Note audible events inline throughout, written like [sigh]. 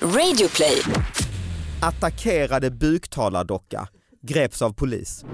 Radioplay. attackerade buktalardocka, greps av polis.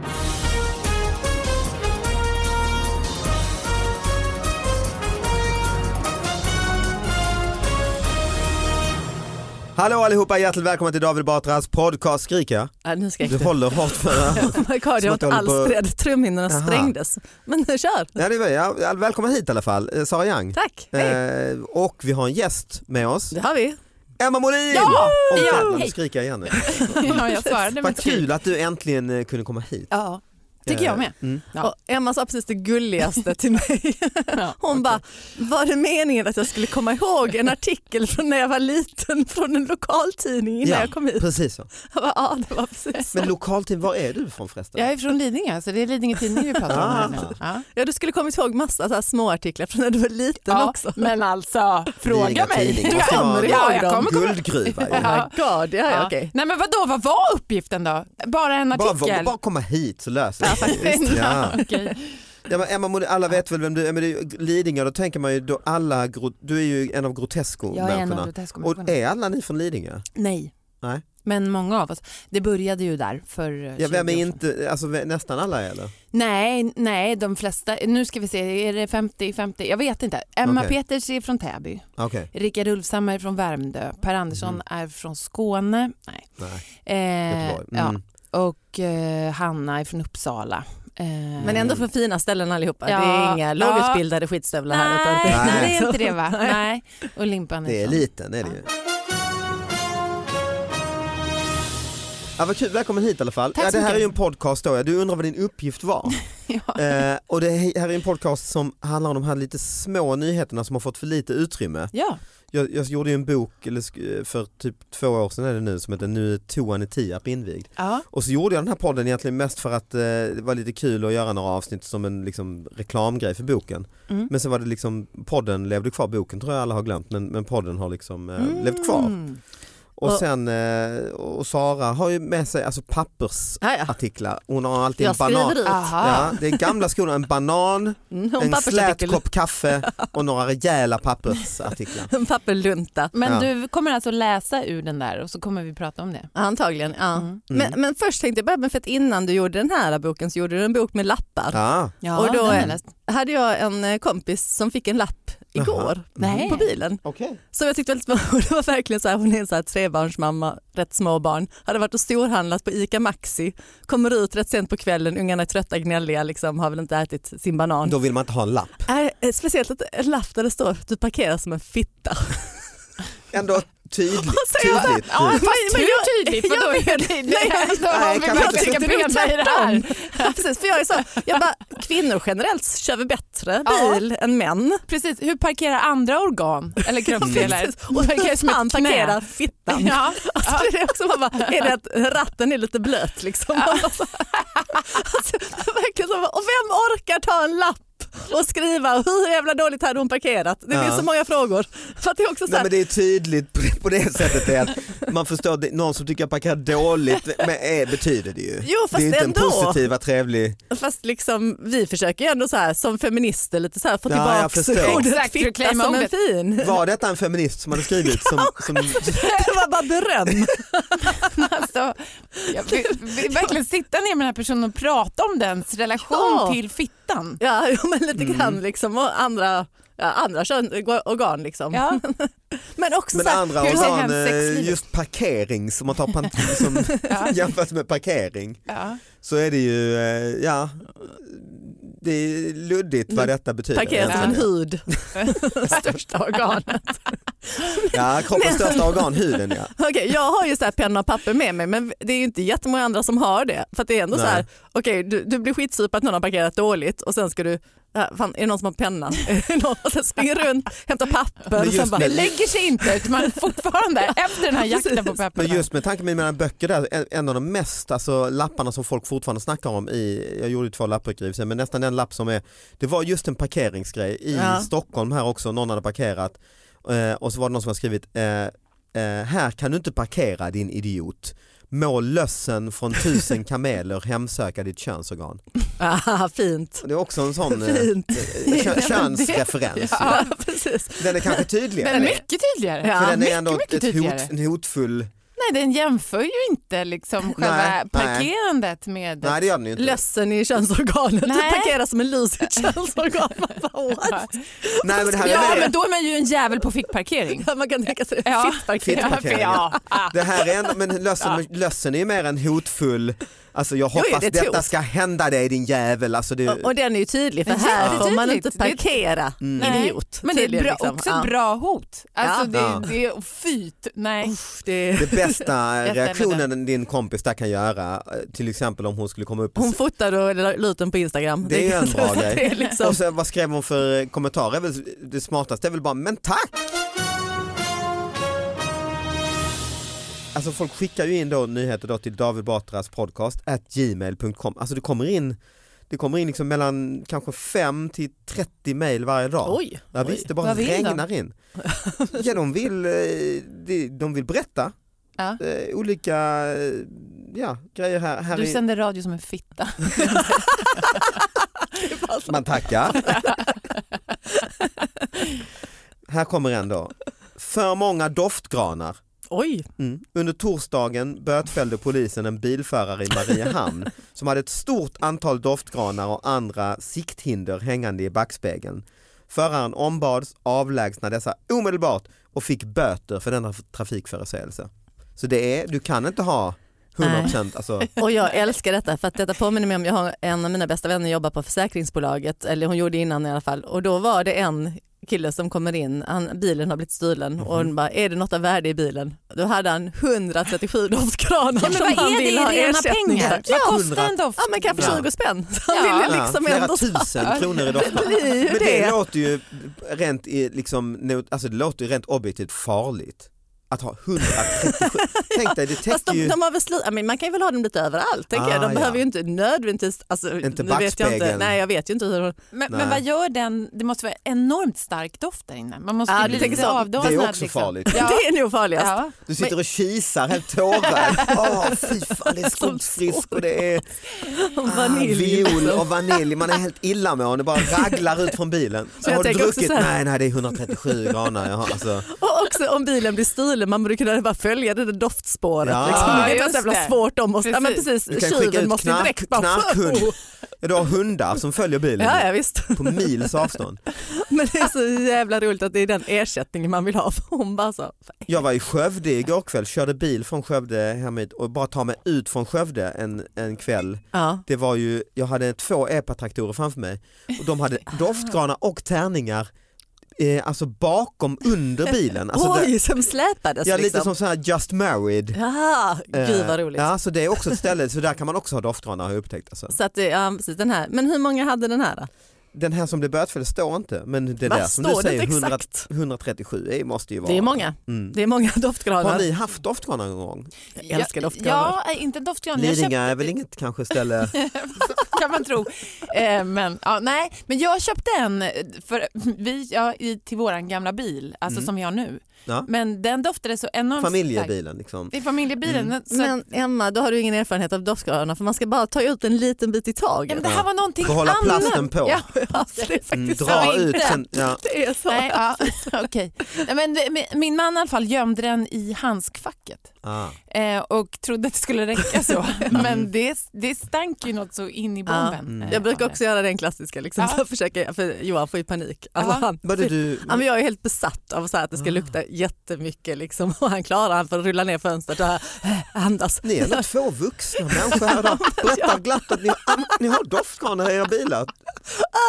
Hallå allihopa, hjärtligt välkomna till David Batras podcast. Skriker jag? Ja, nu skrek Du du. håller hårt för [laughs] öronen. Oh [laughs] my Som God, jag var att du inte håller alls på- beredd. Trumhinnorna Jaha. strängdes. Men kör. Ja, det var jag. Ja, Välkommen hit i alla fall, eh, Sara Young. Tack. Hej. Eh, och vi har en gäst med oss, Det har vi. Emma Molin! Ja! Och Ja! jävlar, nu Hej. skriker jag igen nu. [laughs] Ja, jag svarade Vad med skrik. kul att du äntligen eh, kunde komma hit. Ja, tycker jag med. Eh, mm. Ja. Och Emma sa precis det gulligaste till mig. [laughs] Ja. [laughs] Hon bara, var det meningen att jag skulle komma ihåg en artikel från när jag var liten från en lokaltidning innan Ja, jag kom hit? Precis så. Jag bara, ja, det var precis. Men lokaltid, var är du från förresten? Ah, Jag är från Lidingö, så det är Lidingö Tidning vi pratar om här nu. [laughs] Ja. Ja, du skulle kommit ihåg massa så här små artiklar från när du var liten Ja, också. men alltså, Lidingö fråga mig. Tidning, måste vara- ja, jag kommer komma. Guldgruva. Oh ju. my God, ja, ja. Ja. okej. Nej men vadå, vad var uppgiften då? Bara en Bara, artikel? bara, [laughs] bara komma hit så löser det sig. Ja. Okej. Ja, men Emma, Molin, alla vet väl vem du är, men det är ju Lidingö, då tänker man ju då alla, gro- du är ju en av Jag är en grotesco-människorna. av groteskommissionerna. Och är alla ni från Lidingö? Nej. Nej. Men många av oss. Det började ju där för eh, Ja, 20 år vem är sedan. inte, alltså vä- nästan alla är eller? Nej, nej, de flesta. Nu ska vi se, är det 50-50? Jag vet inte. Emma Okej. Peters är från Täby. Okej, Rickard Ulfshammar är från Värmdö. Per Andersson Mm. är från Skåne. Nej. nej, Eh, Göteborg. ja. Mm. Och eh, Hanna är från Uppsala. Eh, Men ändå för fina ställen allihopa. Det är Ja. inga Ja. lågutbildade skitstövlar här. utan det Nej, är- [laughs] nej, Nej. det är inte [laughs] det va? Nej. Och Limpan Det är från- liten är det ju. Ja, vad kul, välkommen hit i alla fall. Tack ja, så det här mycket. är ju en podcast då, ja. du undrar vad din uppgift var. [laughs] Ja. Eh, och det här är en podcast som handlar om de här lite små nyheterna som har fått för lite utrymme. ja. Jag, jag gjorde ju en bok eller, sk- för typ två år sedan är det nu som heter Nu är toan i Tierp invigd. ja. Och så gjorde jag den här podden egentligen mest för att eh, det var lite kul att göra några avsnitt som en liksom, reklamgrej för boken. Mm. Men sen var det liksom podden levde kvar, boken tror jag alla har glömt men, men podden har liksom eh, levt kvar. Mm. Och Och- sen, eh, och Sara har ju med sig alltså pappersartiklar. Ja, ja. Hon har alltid Jag en banan. skriver ut. Aha. Ja, det är gamla skolan, en [laughs] banan, Mm, och en slät [laughs] pappersartikel. kopp kaffe [laughs] och några rejäla pappersartiklar. En papperlunta. Men Ja. du kommer alltså läsa ur den där och så kommer vi prata om det. Antagligen, ja. Mm. Men, men först tänkte jag börja med, för att innan du gjorde den här boken så gjorde du en bok med lappar. Ja. Ja, alltså, Och då den är- har läst. Hade jag en eh, kompis som fick en lapp igår Mm. Nej. på bilen Okej. som jag tyckte [laughs] var väldigt spännande. Det var verkligen så här, hon är en så här trebarnsmamma, rätt små barn, hade varit och storhandlat på ICA Maxi, kommer ut rätt sent på kvällen, ungarna är trötta, gnälliga, liksom, har väl inte ätit sin banan. Då vill man inte ha en lapp. Nej, eh, speciellt att en lapp där det står du parkerar som en fitta. Ändå [laughs] tydligt. säger jag så här, tydligt. Ja, fast men hur jag- [laughs] tydligt? Vadå? jag vet- Det- Nej, det- då har nej, vi kan bara man inte trycka säga. Det är benen i det här. Ja, Precis, för jag är så, jag bara, kvinnor generellt kör vi bättre bil än män. Precis, hur parkerar andra organ eller kroppsdelar? Precis. Och han parkerar fittan. [laughs] Ja. Alltså, det är, också, man bara, är det att ratten är lite blöt liksom? [laughs] Man bara så här. Alltså, det är verkligen så, och vem orkar ta en lapp och skriva hur jävla dåligt hade hon parkerat? Det finns Ja. så många frågor. För att det är också så Nej, här, men det är tydligt på det- på det sättet är att man förstår att det- någon som tycker jag parkerar dåligt men är, betyder det ju. Jo, fast det är ju inte en ändå. positiva trevlig... Fast liksom, vi försöker ju ändå så här, som feminister lite så här, få Ja, jag tillbaka förstår. ordet Exakt, fitta reclaima som en ordet. fin. Var detta en feminist som hade skrivit som... som alltså, [laughs] Det var bara beröm. Alltså, jag vill, vill verkligen sitta ner med den här personen och prata om dens relation Ja. till fittan. Ja, jo, men lite Mm. grann liksom och andra, ja, andra kön, organ liksom. Ja. Men också men så här, andra hur ser organ, hem sexlivet? eh, just parkering, som man tar pan- som [laughs] jämfört med parkering, Ja. så är det ju, eh, ja, det är luddigt vad detta betyder. parkeras som en egentligen. hud. [laughs] Största organ. Ja, kroppens Nej. största organ, huden ja. Okej, jag har ju så här penna och papper med mig men det är ju inte jättemånga andra som har det. För att det är ändå Nej. så här, okej du, du blir skitsur på att någon har parkerat dåligt och sen ska du, ja, fan, är det någon som har penna? [laughs] Är det någon? och sen springer runt, hämtar papper och sen just bara, det- Det lägger sig inte utan man är fortfarande [laughs] efter den här jakten på Men pepparna. just med tanke på mina böcker där, en- en av de mest alltså, lapparna som folk fortfarande snackar om i, jag gjorde ju två lappbeskrivelser, men nästan den lapp som är, det var just en parkeringsgrej i Ja. Stockholm här också, någon hade parkerat eh, och så var det någon som hade skrivit, eh, eh, här kan du inte parkera din idiot. må lössen från [laughs] tusen kameler hemsöka ditt könsorgan. Ah, fint. Det är också en sån eh, Fint. [laughs] kö- könsreferens. Ja, precis. Den är kanske tydligare. Men mycket tydligare. Ja, för den är mycket, ändå mycket ett tydligare. hot, en hotfull... Nej, den jämför ju inte liksom själva Nej, nej. parkerandet med... [laughs] Nej det gör den ju inte. Lössen i könsorganet. Du Nej. parkerar som en lus i ett könsorgan. Man, bara, what? Nej men det här Ja, är mer, men då är man ju en jävel på fickparkering. Ja, man kan tänka sig det. Ja. Fittparkering. Ja, Fittparkering. ja. det här är ändå, men lössen, lössen är ju mer en hotfull, alltså jag Jo, jo, hoppas det är ett detta hot. ska hända dig din jävel. Alltså, det, Och, och den är ju tydlig för Den är här får jättetydligt. man inte Det är ett- parkera. Mm. Nej, Idiot. Men det är Tydligen bra, liksom. också Ja. ett bra hot. Alltså Ja. det, det är fyt. [laughs] Nej. Uff, det... det [laughs] bästa stämmer reaktionen din kompis där kan göra, eh, till exempel om hon skulle komma upp och Hon fotade och la ut den på Instagram. [laughs] Det är ju en bra det är grej. liksom- Och sen, vad skrev hon för eh, kommentarer? Väl- Det smartaste är väl bara men tack! Alltså folk skickar ju in då nyheter då till David Batras podcast at gmail.com. Alltså det kommer in det kommer in liksom mellan kanske 5 till 30 mejl varje dag. Oj. ja, oj. visst, det bara Vad vill de? regnar [laughs] in. Ja, de, vill, eh, de- de vill berätta Ja. eh, olika eh, ja, grejer här. här Du i- sänder radio som en fitta. Man tackar. Här kommer en då. För många doftgranar. Oj. Mm. Under torsdagen bötfällde polisen en bilförare i Mariehamn som hade ett stort antal doftgranar och andra sikthinder hängande i backspegeln. Föraren ombads avlägsna dessa omedelbart och fick böter för denna trafikförseelse. Så det är, du kan inte ha 100% alltså, Och jag älskar detta för att detta påminner mig om jag har en av mina bästa vänner jobbar på försäkringsbolaget, eller hon gjorde innan i alla fall, och då var det en kille som kommer in, han, bilen har blivit stulen och Mhm. hon bara, är det något av värde i bilen? Då hade han 137 doftskranar Ja, men som vad han är det i ville ha rena ersättning pengar? för. Vad hundra- kostar en doft? Ja men kanske Ja. 20 spänn. Så han Ja. ville liksom flera ändå tusen kronor i doftgranar. bli ju Men det, det. låter ju rent, i- liksom, neut- alltså det låter ju rent objektivt farligt. Att ha [laughs] 137, tänk dig det Fast täcker de, ju de har väl sli- ja, men man kan ju väl ha dem lite överallt tänker jag. Ah, De ja. behöver ju inte nödvändigtvis, alltså, Inte nu vet jag inte, backspegeln. nej jag vet ju inte hur de, Men, Nej. men vad gör den? Det måste vara enormt stark doft där inne. Man måste Ja, ju du bli tänker lite så. avdomnad. [laughs] Det är också farligt. Ja. [laughs] det är nog farligast. Ja. du sitter och kisar helt tårögd. [laughs] Åh fy fan det är skogsfrisk och det är Vanilj. liksom. viol och vanilj. Man är helt illamående, bara raglar ut från bilen. Så jag har du tänker också druckit, så här- nej nej det är 137 granar. Jaha, alltså. Och också om bilen blir stulen, man borde kunna bara följa det där doftspåret. Ja, liksom. Det är just inte så jävla det. svårt om oss. Ja, men Precis. precis. Du kan skicka Tjuven ut måste ju knark- direkt bara... knarkhund. [laughs] Ja, Du har hundar som följer bilen Ja, ja, visst. [laughs] på mils avstånd. Men det är så jävla roligt att det är den ersättningen [laughs] man vill ha. För hon bara så, Jag var i Skövde igår kväll, körde bil från Skövde hem hit och bara ta mig ut från Skövde en, en kväll. ja. Det var ju, jag hade två epatraktorer framför mig och de [laughs] hade doftgranar och tärningar eh, alltså bakom under bilen. Alltså det, Oj, som släpades ja, lite liksom. som så här just married. Ja, gud vad Eh, roligt. Ja, så det är också ett [laughs] ställe, så där kan man också ha doftgranar har jag upptäckt. Alltså. Så att det, ja, precis, den här. Men hur många hade den här då? Den här som blev bötfälld står inte, men det Vad där som du står det säger, inte 100, exakt? 137 det måste ju vara. Det är många. Mm. Det är många [laughs] Har doftgranar. ni haft doftgranar någon gång? Jag älskar doftgranar. Ja, nej, inte en doftgran. Jag köpte, Lidingö är väl inget kanske [laughs] ställe [laughs] kan man tro. Eh, men, ja, nej, men jag köpte en eh, för, vi, ja, i, till våran gamla bil, alltså Mm. som jag har nu. Ja. Men den doftade så enormt starkt. Familjebilen [laughs] liksom. Det är familjebilen. Så, men, Men Emma, då har du ingen erfarenhet av doftgranar för man ska bara ta ut en liten bit i ja, men taget. det här var någonting Får hålla annat. plasten på. Ja, [laughs] Alltså, det är Mm, faktiskt dra så ut inte. sen, ja. Det är så. nej, ja, [laughs] okej. Nej, men, men, min man i alla fall gömde den i handskfacket. ah. Eh, och trodde att det skulle räcka [laughs] så. Men det, det stank ju något så in i bomben. Ja. Mm. eh, Nej, Jag brukar av det. också göra den klassiska, liksom, Ja. så här försöker, för Johan får ju panik. Alltså, Ja. han, Både du, Ja, men jag är helt besatt av så här att det Ah. ska lukta jättemycket liksom, och han klarar han för att rulla ner fönstret och eh, andas. ni är ändå två vuxna människor här [laughs] idag. Berättar glatt att ni, an- ni har doftgranar i era bilar.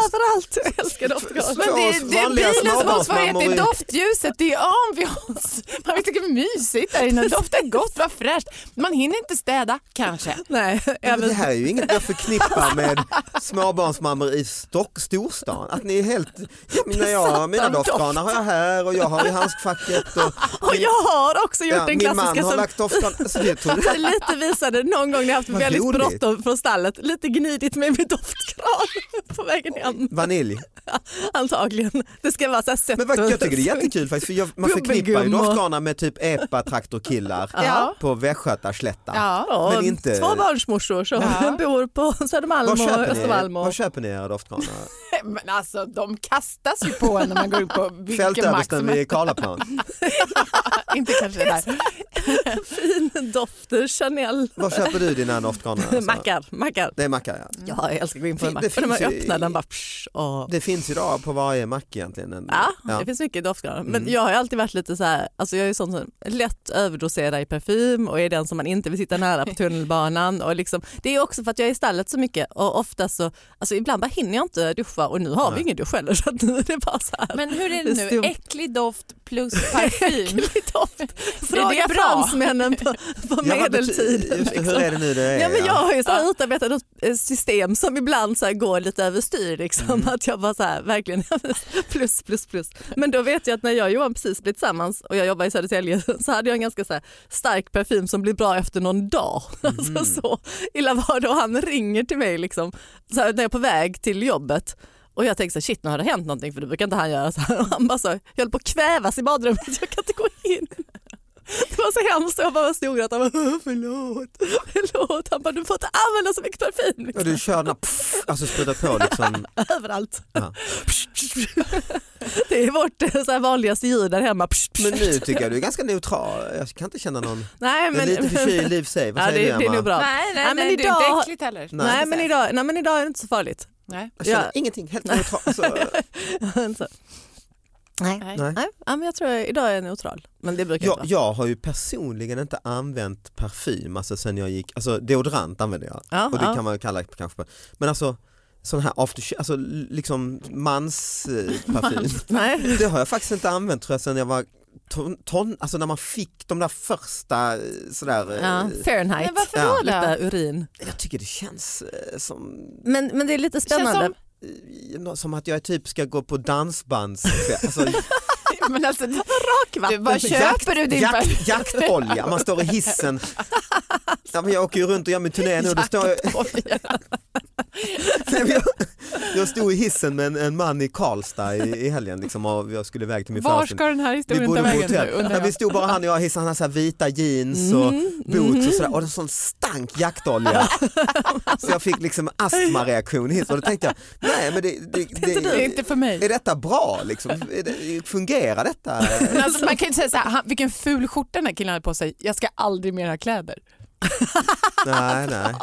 Överallt, jag älskar doftgranar. Men det, För oss det är vanliga bilens småbarnsmammor motsvarighet är- till doftljuset. Det är ambiance. Man vet inte hur mysigt där inne. Doftar gott, vad fräscht. Man hinner inte städa kanske. Nej, Men även, det här är ju inget jag förknippar med småbarnsmammor i stock, storstan. Att ni är helt, ja, men när jag, mina Besatta av doftgranar har jag här och jag har i handskfacket. Och, [laughs] och jag har också gjort ja, den min man klassiska har [laughs] som lagt doftgranar. Så det tror så lite visade någon gång när jag [laughs] haft Vad väldigt roligt. bråttom från stallet, lite gnidigt med min doftgran [laughs] på vägen hem Vanilj. antagligen. Det ska vara så här Men vad, jag tycker det är jättekul. jättekul faktiskt för jag, man förknippar ju Bubbelgum och- doftgranar med typ epatraktorkillar Ja. på Västgötaslätta. Ja. Ja, Men inte- Tvåbarnsmorsor som Ja. bor på Södermalm Var och köper, Östermalm. ni, och- var köper ni era doftkranar? [laughs] Men alltså de kastas ju på en när man går ut [laughs] på vilken mack Fältöversten som helst. vid Karlaplan. Inte kanske det där. Fin dofter, Chanel. Var köper du dina [laughs] doftkranar? Alltså? Mackar, mackar. Det är mackar ja. Ja, jag älskar att gå in på en Det mack. Och när finns man ju- öppnar den bara... Psh, och... Det finns idag på varje mack egentligen. En, Ja, ja. Mm. det finns mycket doftgranar. Men jag har ju alltid varit lite så här, alltså jag är ju sån som lätt överdoserar i parfym och är den som man inte vill sitta [laughs] nära på tunnelbanan. Och liksom, det är också för att jag är i stallet så mycket och ofta så, alltså ibland bara hinner jag inte duscha och nu har vi Nej. ingen dusch heller [laughs] så att nu är det bara så här. [laughs] Men hur Det är det är nu? stumt. Äcklig doft plus [laughs] parfym. Äcklig doft. Fråga bra? fransmännen på, på Ja, vad bety- medeltiden. just det, liksom. Hur är det nu det är? Ja, men jag ja? har ju så här utarbetat något eh, system som ibland så här går lite överstyr. Liksom, Att jag bara så här, verkligen [laughs] plus, plus, plus. Men då vet jag att när jag och Johan precis blev tillsammans och jag jobbar i Södertälje [laughs] så hade jag en ganska så här stark parfym som blir bra efter någon dag. [laughs] Alltså, så illa var det och han ringer till mig liksom, så här, när jag är på väg till jobbet. Och jag tänkte så här, shit nu har det hänt någonting för det brukar inte han göra. [laughs] Så här, och han bara så, jag höll på att kvävas i badrummet, jag kan inte gå in. [laughs] Det var så hemskt och jag bara stod och han bara "Åh, förlåt, förlåt. Han bara du får inte använda så mycket parfym Och liksom, du kör den här, pff, alltså sprutar på [laughs] liksom. överallt. Ja. Det är vårt eh, så här, vanligaste ljud där hemma. Men nu tycker jag du är ganska neutral. Jag kan inte känna någon. Nej, Men, men, lite förkyld i och för sig. Vad [laughs] ja, säger det, du det är Emma? nog bra. Nej, Nej, nej, men nej, det är idag- inte äckligt heller. Nej. men idag, nej men idag är det inte så farligt. [laughs] Nej. Jag känner Ja. ingenting, helt neutral. [laughs] Alltså, Så. Nej. Nej. nej. Nej, ja, men jag tror jag, idag är jag neutral. Men det brukar jag Jag, vara. jag har ju personligen inte använt parfym, alltså sen jag gick, alltså deodorant använder jag. Ja, och det ja. kan man kalla kanske, men alltså sån här aftershave, alltså l- liksom [laughs] mansparfym. Nej. det har jag faktiskt inte använt tror jag sen jag var ton, ton alltså när man fick de där första eh, sådär, eh, Ja, Fahrenheit. Men varför Ja. då? då? Lite urin. jag tycker det känns eh, som, Men, men det är lite spännande. som- eh, nå- som att jag typ ska gå på dansbands, [laughs] alltså, [laughs] Men alltså, du, du, Rakvatten. vad köper du din jakt, [laughs] parfym? jaktolja, man står i hissen. Ja, men jag åker ju runt och gör min turné nu och då står jag, [laughs] Nej, men jag, jag stod i hissen med en, en man i Karlstad i, i helgen liksom, och jag skulle iväg till min Var föreställning. ska den här Vi historien ta bodde på vägen nu hotell. undrar Nej, vi jag? Mhm, stod bara han och jag i hissen, han hade så här vita jeans och boots och sådär och en sån stank [laughs] jaktolja. så jag fick liksom astmareaktion i hissen och då tänkte jag, nej men det, [laughs] det, det, Det är inte för mig. är detta bra liksom? Är det, fungerar detta? Men alltså, [laughs] man kan ju inte säga så här, han, vilken ful skjorta den här killen hade på sig, jag ska aldrig mer ha kläder. [laughs] nej, nej.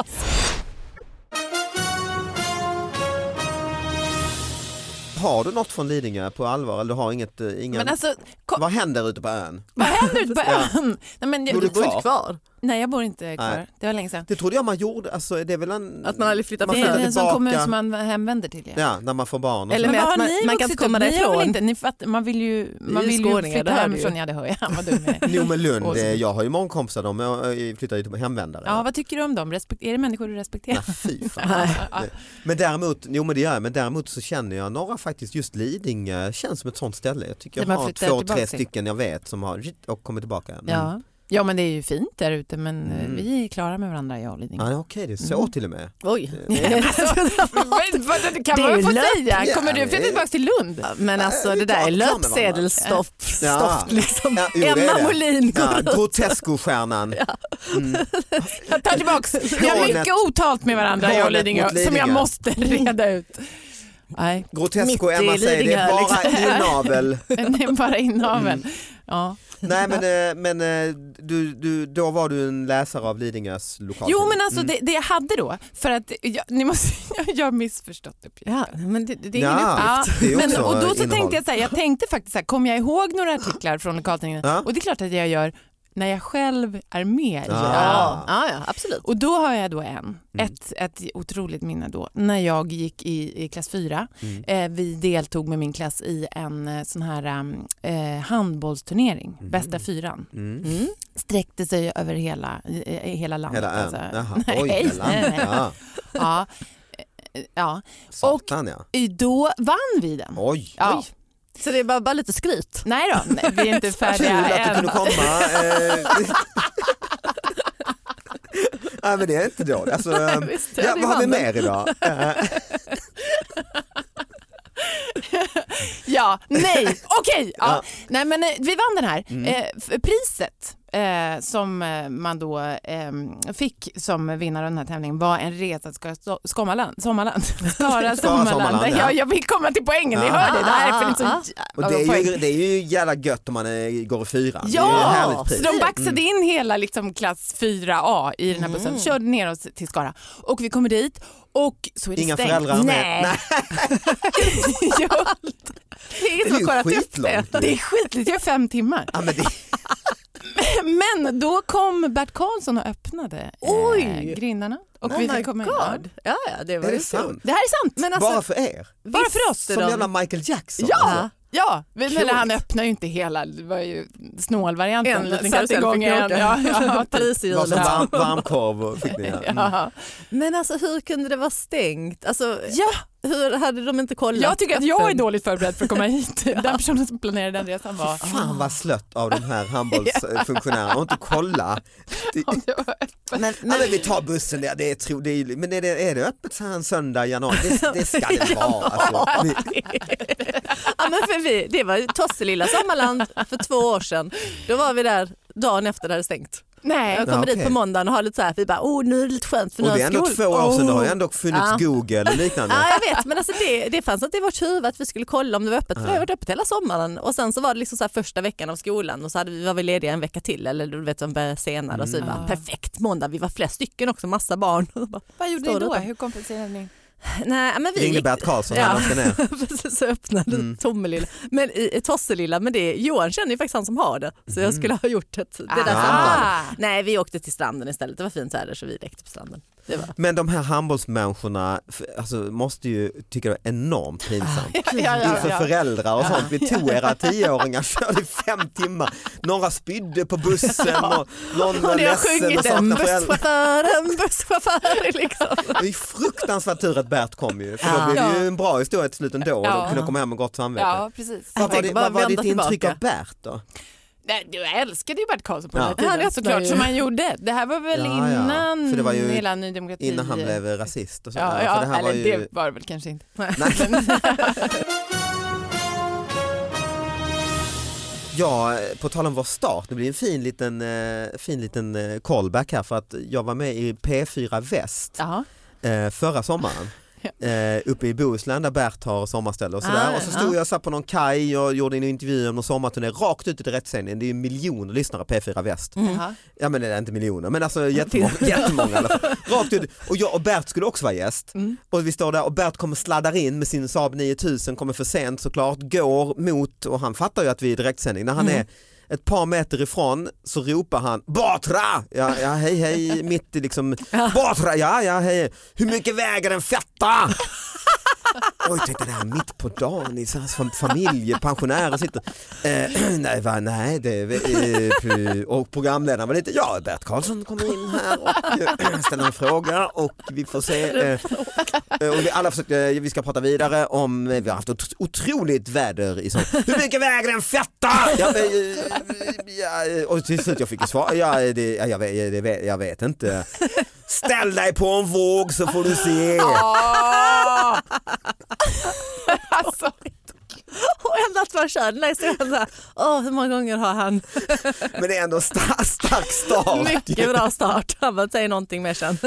Har du något från Lidingö på allvar eller du har inget, eh, ingen, Men alltså, kom, vad händer ute på ön? vad [laughs] händer ute på Ja. ön? Nej, men Bor du jag, bor inte kvar. nej, jag bor inte kvar, Nej. det var länge sedan. Det trodde jag man gjorde, alltså, det är väl en... Att man aldrig flyttat man Det flyttar är en sån tillbaka. kommun som man hemvänder till. Ja. Ja, när man får barn. Och Eller så. Men med vad att har man- ni man kan vuxit inte komma upp? Ni har väl därifrån. inte, ni fattar, man vill ju, man ju vill ju skåningar, flytta det hör du ju. hemifrån. Ja, det hör jag. Vad dum jag är. Jo men Lund, Och så- eh, jag har ju många kompisar, de eh, flyttar ju till hemvändare. Ja, vad tycker du om dem? Respek- är det människor du respekterar? Nej, fy fan. Ja, ja. Men däremot, jo men det gör jag, men däremot så känner jag några faktiskt, just Lidingö känns som ett sånt ställe. Jag tycker jag Där man har flyttar två, tillbaka tre till. stycken jag vet som har rit- och kommit tillbaka. Mm. Ja. ja, men det är ju fint där ute men eh, Mm. vi är klara med varandra jag och Lidingö. Ja, Okej, det är så Mm. till och med. Oj. [laughs] Men vad- det kan Det är man väl få löp- säga? Kommer Ja, du det- flytta tillbaka till Lund? Men alltså det där är Ja, klar med varandra. löpsedelsstoft Ja. stoft, liksom. Ja, jo, det är Emma det. Molin går Ja, ut. Grotesco-stjärnan. Mm. Jag [laughs] tar tillbaka. Vi har Lånet- mycket otalt med varandra jag och Lånet Lidingö mot Lidingö. som jag måste Mm. reda ut. Nej, Grotesco, Mitt i Emma säger det är Lidingö, bara inavel. men det är bara Mm. inaveln. Mm. Ja. Nej men, eh, men eh, du, du, då var du en läsare av Lidingös lokal. Mm. Jo men Mm. alltså det, det jag hade då, för att jag, ni måste, [laughs] jag har missförstått uppgiften. Ja, men det, det är ingen Ja. uppgift. Ja, det är men, också och då så innehåll. tänkte jag så här, jag tänkte faktiskt så här, kommer jag ihåg några artiklar från lokaltidningen? Ja. Och det är klart att jag gör när jag själv är med. Ja. Mm. Ja, ja, ja absolut. Och då har jag då en, ett, ett otroligt minne då, när jag gick i, i klass 4. Mm. Eh, vi deltog med min klass i en eh, sån här um, eh, handbollsturnering, Mm. bästa fyran. Mm. Mm. Sträckte sig över hela, i, i, hela landet. Hela ön? alltså. Jaha, oj, Nej, hela nej, ön. nej. Ja, Ja. Eh, ja. satan ja. I- Då vann vi den. Oj. Ja. Oj. Så det är bara, bara lite skryt. Nej då, nej, vi [laughs] är inte Kul färdiga att du än. kunde komma. [laughs] eh. Nej men det är inte dåligt. [laughs] Alltså, eh, Visst, ja, det [laughs] vad har vi vann den. mer idag? Eh, Ja, ja, nej, [laughs] okej. ja. Ja. Nej men eh, vi vann den här. Mm. Eh, f- priset eh, som eh, man då eh, fick som vinnare av den här tävlingen var en resa till Skara- Sommarland. Sommarland. [laughs] Skara Sommarland, Sommarland. ja. Ja, jag vill komma till poängen, ni Ja. hör det. Det här är för liksom, Ah, ah, Och det, är ju, det är ju jävla gött om man är, går i fyran. det är typ. Ja, ett härligt pris. så de baxade in hela liksom klass 4A i den här bussen, körde ner oss till Skara och vi kommer dit och så är det Inga stängt. föräldrar med. Nej. [laughs] Jo. det är Det är ingen som ju har kollat upp det. skitlångt. Det är skitlångt, det är fem timmar. Ja, [laughs] men det, Men då kom Bert Karlsson och öppnade Oj. Eh, grindarna. Och Oh vi my fick komma in. Ja. god. Ja, ja, det var är ju det kul. sant? Det här är sant. Men alltså, Bara för er? Bara för oss. visste Som de- jävla Michael Jackson? alltså. Ja, ja. Men Coolt. eller han öppnade ju inte hela, det var ju snålvarianten. en liten Satte karusell igång fick ni en. åka. Ja, [laughs] ja, typ. Var som [laughs] Pariserhjulet. varm, varmkorv och fick ni ja. Mm. ja. Men alltså hur kunde det vara stängt? Alltså, ja, hur hade de inte kollat? jag tycker att jag är öppen? dåligt förberedd för att [laughs] komma hit. Den personen som planerade den resan var Fan vad slött av de här handbollsfunktionärerna och inte [laughs] kolla. Det, om det var öppet. Men, ja, men, men vi tar bussen, där, det är, tro, det är, ju- men är det, är det öppet så här en söndag i januari? Det, det ska [laughs] det vara. Alltså. Ni- ja, men för vi, det var ju Tosselilla Sommarland för två år sedan. Då var vi där dagen efter det hade stängt. Nej, Jag kommer Ja, dit okej. på måndagen och har lite så här, vi bara, oh, nu är det lite skönt för nu Och har det är ändå skol- två år sedan, det har ju Oh. ändå funnits Ja. Google och liknande. Ja, jag vet, men alltså det, det fanns inte i vårt huvud att vi skulle kolla om det var öppet, för det har varit öppet hela sommaren. Och sen så var det liksom så här första veckan av skolan och så hade vi, var vi lediga en vecka till, eller du vet, de började senare. Och så vi Mm. bara, Ja. perfekt måndag, vi var flera stycken också, massa barn. [laughs] Och bara, vad gjorde Står ni det då? utan- Hur kompenserade ni? Nej, men vi Ringde gick Bert Karlsson, Ja. han åkte ner. Precis, [laughs] så öppnade Mm. Tommelilla, men i, i Tosselilla, men det, Johan känner ju faktiskt han som har det, så Mm. jag skulle ha gjort det, det där Ah. samtalet. Nej, vi åkte till stranden istället, det var fint väder så vi lekte på stranden. Det var... Men de här handbollsmänniskorna f- alltså, måste ju tycka det är enormt pinsamt. Ja, ja, ja, Inför ja. föräldrar och sånt. Vi tog era tioåringar, körde i fem timmar. Några spydde på bussen och någon var Och det har ledsen och sjungit en saknade föräldrar. busschaufför, [laughs] en busschaufför liksom. Det är fruktansvärt tur att Bert kom ju. För Ja. då blev det Ja. ju en bra historia till slut ändå och de Ja. kunde komma hem med gott samvete. Ja, precis. Vad var, tänker det, bara vad var ditt vända intryck tillbaka. av Bert då? Nej, du älskade ju Bert Karlsson på Ja. den här tiden Han älskade såklart, ju. som han gjorde. Det här var väl Ja, ja. innan För det var ju hela Ny Demokrati. Innan han blev rasist och så. Ja, där. ja, för det här eller var ju... det var det väl kanske inte. Nej. [laughs] Ja, på tal om vår start, det blir en fin liten, eh, fin liten eh, callback här för att jag var med i P4 Väst Ja. eh, förra sommaren. Eh, uppe i Bohuslän där Bert har sommarställe och sådär. Ah, och så stod ja. jag så här på någon kaj och gjorde en intervju om någon sommarturné rakt ut i direktsändningen. Det är ju miljoner lyssnare på P4 Väst. Mm. Jaha. Ja men det är inte miljoner men alltså jättemånga, jättemånga i alla fall. Rakt ut. Och jag och Bert skulle också vara gäst. Och vi står där och Bert kommer sladdar in med sin Saab 9000, kommer för sent såklart, går mot och han fattar ju att vi är i direktsändning. När han är ett par meter ifrån så ropar han Batra! Ja, ja hej hej, mitt i liksom Batra, ja ja hej. Hur mycket väger den fetta? Oj, tänkte det här mitt på dagen i så här som familj, pensionärer sitter. Eh, [clears throat] nej, va, nej det, eh, pr- och programledaren var lite, ja Bert Karlsson kommer in här och eh, [clears throat] ställer en fråga och vi får se. Eh, eh, och vi alla försökte, eh, vi ska prata vidare om, eh, vi har haft ot- otroligt väder i sommar. Hur mycket väger en fetta? Ja, eh, eh, ja, eh, och till slut jag fick ju svar, ja, eh, det, ja, jag, vet, det, vet- jag vet inte. Ställ dig på en våg så får du se. Åh! alltså, Och ändå att man kör den där historien så här, åh hur många gånger har han? Men det är ändå en star- stark start. Mycket bra start. Han bara, säg någonting [laughs] mer sen.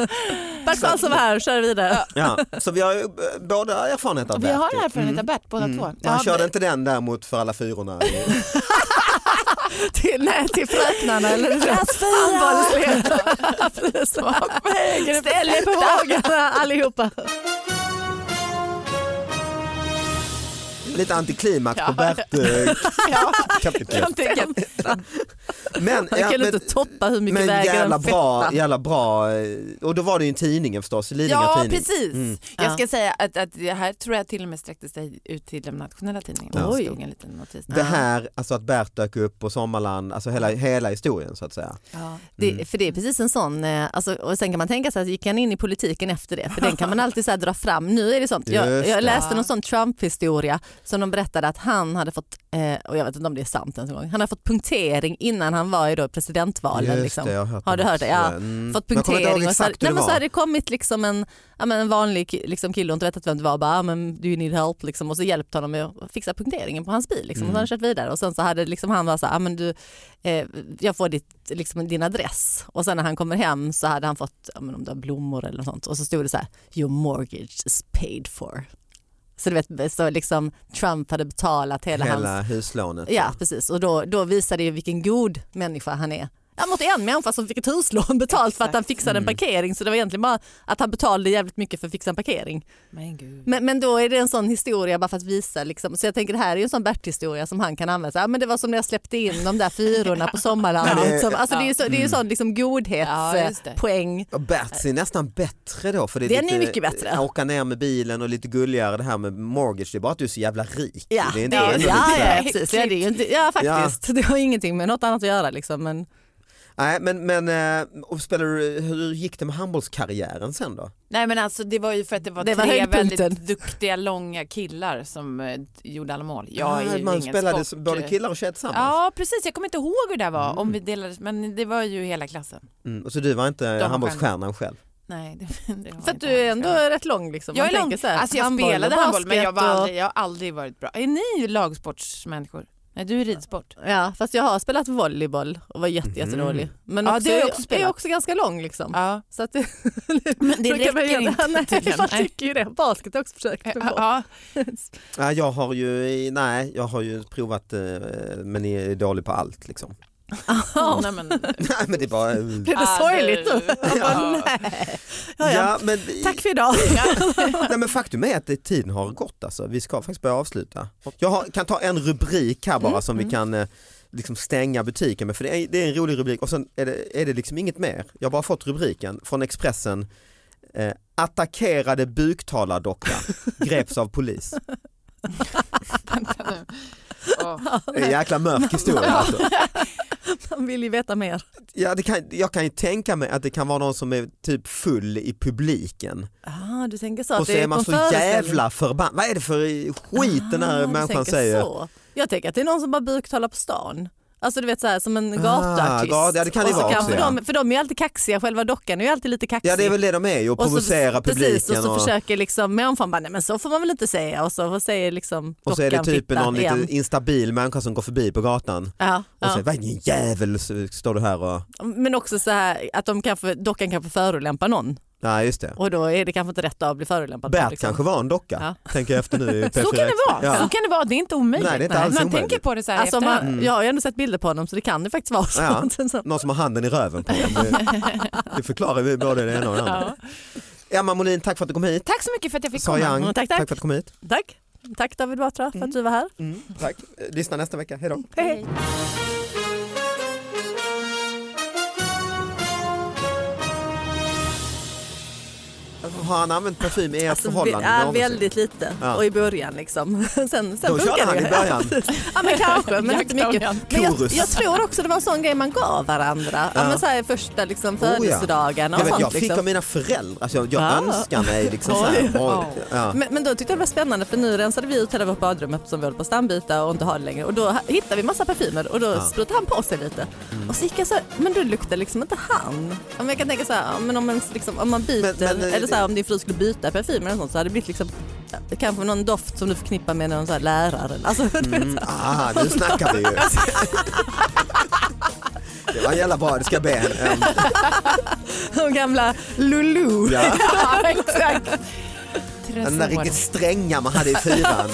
Bert Karlsson var här, kör vidare. Ja, så vi har ju eh, båda erfarenhet av vi Bert. har erfarenhet av Bert båda två. Men han Ja, [laughs] körde inte den däremot för alla fyrorna. Till, nej, till fröknarna eller handbollsledarna. Precis. [laughs] Ställ er på vågorna allihopa. Lite antiklimax på Ja. Bert. [laughs] eh, kapitlet. kan tänka att- Men, Man ja, kan men, inte toppa hur mycket men väger jävla en bra, fetta. jävla bra. eh, Och då var det ju en tidning förstås, Lidingö Ja, tidning. precis. Mm. Jag ska säga att, att det här tror jag till och med sträckte sig ut till de nationella tidningarna. Ja. Det stod en liten notis. Det här, alltså att Bert dök upp på Sommarland, alltså hela, hela historien så att säga. Ja. Mm. Det, för det är precis en sån, eh, alltså, och sen kan man tänka sig att gick han in i politiken efter det? För den kan man alltid så här dra fram. Nu är det sånt, jag, Just det. jag läste någon sån Trump-historia som de berättade att han hade fått, eh, och jag vet inte om det är sant ens en gång, han hade fått punktering innan han var i då presidentvalen. liksom. jag hört Har du det hört det? också. Ja. Mm. Fått Men jag kommer inte ihåg punktering och så, hade, exakt hur nej, det men så var. hade det kommit liksom en, ja, men en vanlig ki- liksom, kille och inte vetat vem det var och bara, "Ah, men do you need help liksom, och så hjälpte honom med att fixa punkteringen på hans bil Mm. liksom, och så hade han kört vidare och sen så hade liksom, han bara så här, "Ah, men du, eh, jag får ditt, liksom, din adress och sen när han kommer hem så hade han fått ja, men, om det var blommor eller något sånt och så stod det så här your mortgage is paid for. Så du vet, så liksom Trump hade betalat hela, hans Hela huslånet. Ja precis och då, då visar det ju vilken god människa han är. Ja, mot en människa som fick ett huslån betalt för att han fixade Mm. en parkering så det var egentligen bara att han betalade jävligt mycket för att fixa en parkering. Men gud. Men, men då är det en sån historia bara för att visa liksom. Så jag tänker det här är ju en sån Bert-historia som han kan använda. sig. Ja, men det var som när jag släppte in de där fyrorna [laughs] på Ja, det- sommarlandet. Som, alltså, det är ju så, det är ju sån liksom Mm. Ja, just det. godhetspoäng. Och Berts är nästan bättre då. För det är Den är lite, eh, mycket bättre. Åka ner med bilen och lite gulligare det här med mortgage. Det är bara att du är så jävla rik. Ja, det är ändå ja, ja, lite så här- ja, precis. Ja, det är ju inte, ja faktiskt. Det har ingenting med något annat att göra liksom. Men Nej, men, men eh, och spelar du, hur gick det med handbollskarriären sen då? Nej men alltså det var ju för att det var, Det var tre höjdpunkten. väldigt duktiga långa killar som eh, gjorde alla mål. Jag är ju Ah, man ingen spelade sport. eh, både killar och tjejer tillsammans. Ja precis, jag kommer inte ihåg hur det var om vi delades, men det var ju hela klassen. Mm, och så du var inte var handbollsstjärnan själv? Nej, [laughs] det, det var för att inte du är alls. ändå rätt lång liksom. Jag Man är lång. tänker så här, alltså jag handboll och spelade handboll men jag, var basket och- aldrig, jag har aldrig varit bra. Är ni lagsportsmänniskor? Nej du är ridsport. Ja, fast jag har spelat volleyboll och var jätte, Mm. jättedålig. Men Ja, också, det har jag jag också spelat. är också ganska lång liksom. [laughs] Ja. Så att det, Men det då kan man räcker göra- [laughs] inte Nej, tydligen. man Nej. tycker ju det. Basket har jag också försökt med boll. Ja, Ja, jag har ju, nej, jag har ju provat eh, men är dålig på allt liksom. [laughs] ja. [laughs] Nej, men, nej men det är bara... Blev det sorgligt då? [laughs] Ja. Ja, ja. Ja, men, Tack för idag. nej, men faktum är att det, tiden har gått alltså. Vi ska faktiskt börja avsluta. Jag har, kan ta en rubrik här bara Mm, som vi kan eh, liksom stänga butiken med. För det är, det är en rolig rubrik och sen är det, är det liksom inget mer. Jag har bara fått rubriken från Expressen. Eh, attackerade buktalardocka greps av polis. Vänta nu. Åh. Det är En jäkla [laughs] mörk historia alltså. Man vill ju veta mer. Ja, det kan, jag kan ju tänka mig att det kan vara någon som är typ full i publiken Ah, du tänker så. att och så det är man på så föreställning. jävla förbannad. Vad är det för skit den här Ah, du människan tänker säger? Så. Jag tänker att det är någon som bara buktalar på stan. Alltså du vet så här, som en Ah, gatuartist. ja, det kan det Och så vara kan- också, för, ja. de, för de är ju alltid kaxiga, själva dockan är ju alltid lite kaxig. Ja det är väl det de är ju, att Och så- provocera publiken. Precis, och så försöker liksom människan bara, nej men så får man väl inte säga och så säger liksom och så är det dockan typ fittan någon igen. lite instabil människa som går förbi på gatan Ja, och ja. säger vad är din jävel så står du här och... Men också så här att de kanske, dockan kanske förolämpar någon Nej just det. och då är det kanske inte rätt att bli förolämpad. Bert liksom. kanske var en docka, Ja. tänker jag efter nu [laughs] i Så P4 kan det Extra. vara, så Ja. kan det vara. Det är inte omöjligt. Nej, det är inte alls man omöjligt. tänker på det så här Alltså, efterhand. man, jag har ju ändå sett bilder på honom så det kan det faktiskt vara så. Ja. [laughs] så. Någon som har handen i röven på dem. Det- Det förklarar vi både det ena och det andra. Ja. Emma Molin, tack för att du kom hit. Tack så mycket för att jag fick Sa komma. Young, Mm, tack, tack. tack för att du kom hit. Tack. Tack David Batra för att du var här. Mm, tack. Eh, Lyssna nästa vecka. Hej då. Hej, hej. Alltså, Har han använt parfym i ert Alltså, förhållande? vi- ja, någonsin? väldigt lite Ja. och i början liksom. [laughs] sen, sen Då funkar körde det han ju. i början. Ja, precis. [laughs] ja men kanske, men inte Jakta mycket. igen. Men jag, Korus. jag tror också det var en sån grej man gav varandra. Ja. Ja. Oh, men så här, första liksom, ja. födelsedagarna Jag, och vet, sånt. jag fick liksom. av mina föräldrar, alltså jag, jag Ah. önskar mig liksom så här. Oj. Oj. Ja. Men, men då tyckte jag det var spännande för nu rensade vi ut hela vårt badrum eftersom vi höll på att stambyta och inte har det längre och då ha- hittade vi massa parfymer och då Ja. Mm. sprutade han på sig lite. Och så gick jag så här, men då luktar liksom inte han. Ja, Men jag kan tänka så här, ja, men om, ens, liksom, om man byter, Men- men, eh, eller så här, om din fru skulle byta parfymer eller sånt så hade det blivit liksom eh, kanske någon doft som du förknippar med någon så här lärare. Alltså, [laughs] du vet, så här. Ah, nu snackar vi ju. Det var jävla bra, det ska jag be henne. Um, de gamla Lulu. ja. [laughs] Ja, exakt. Den där riktigt stränga man hade i fyran.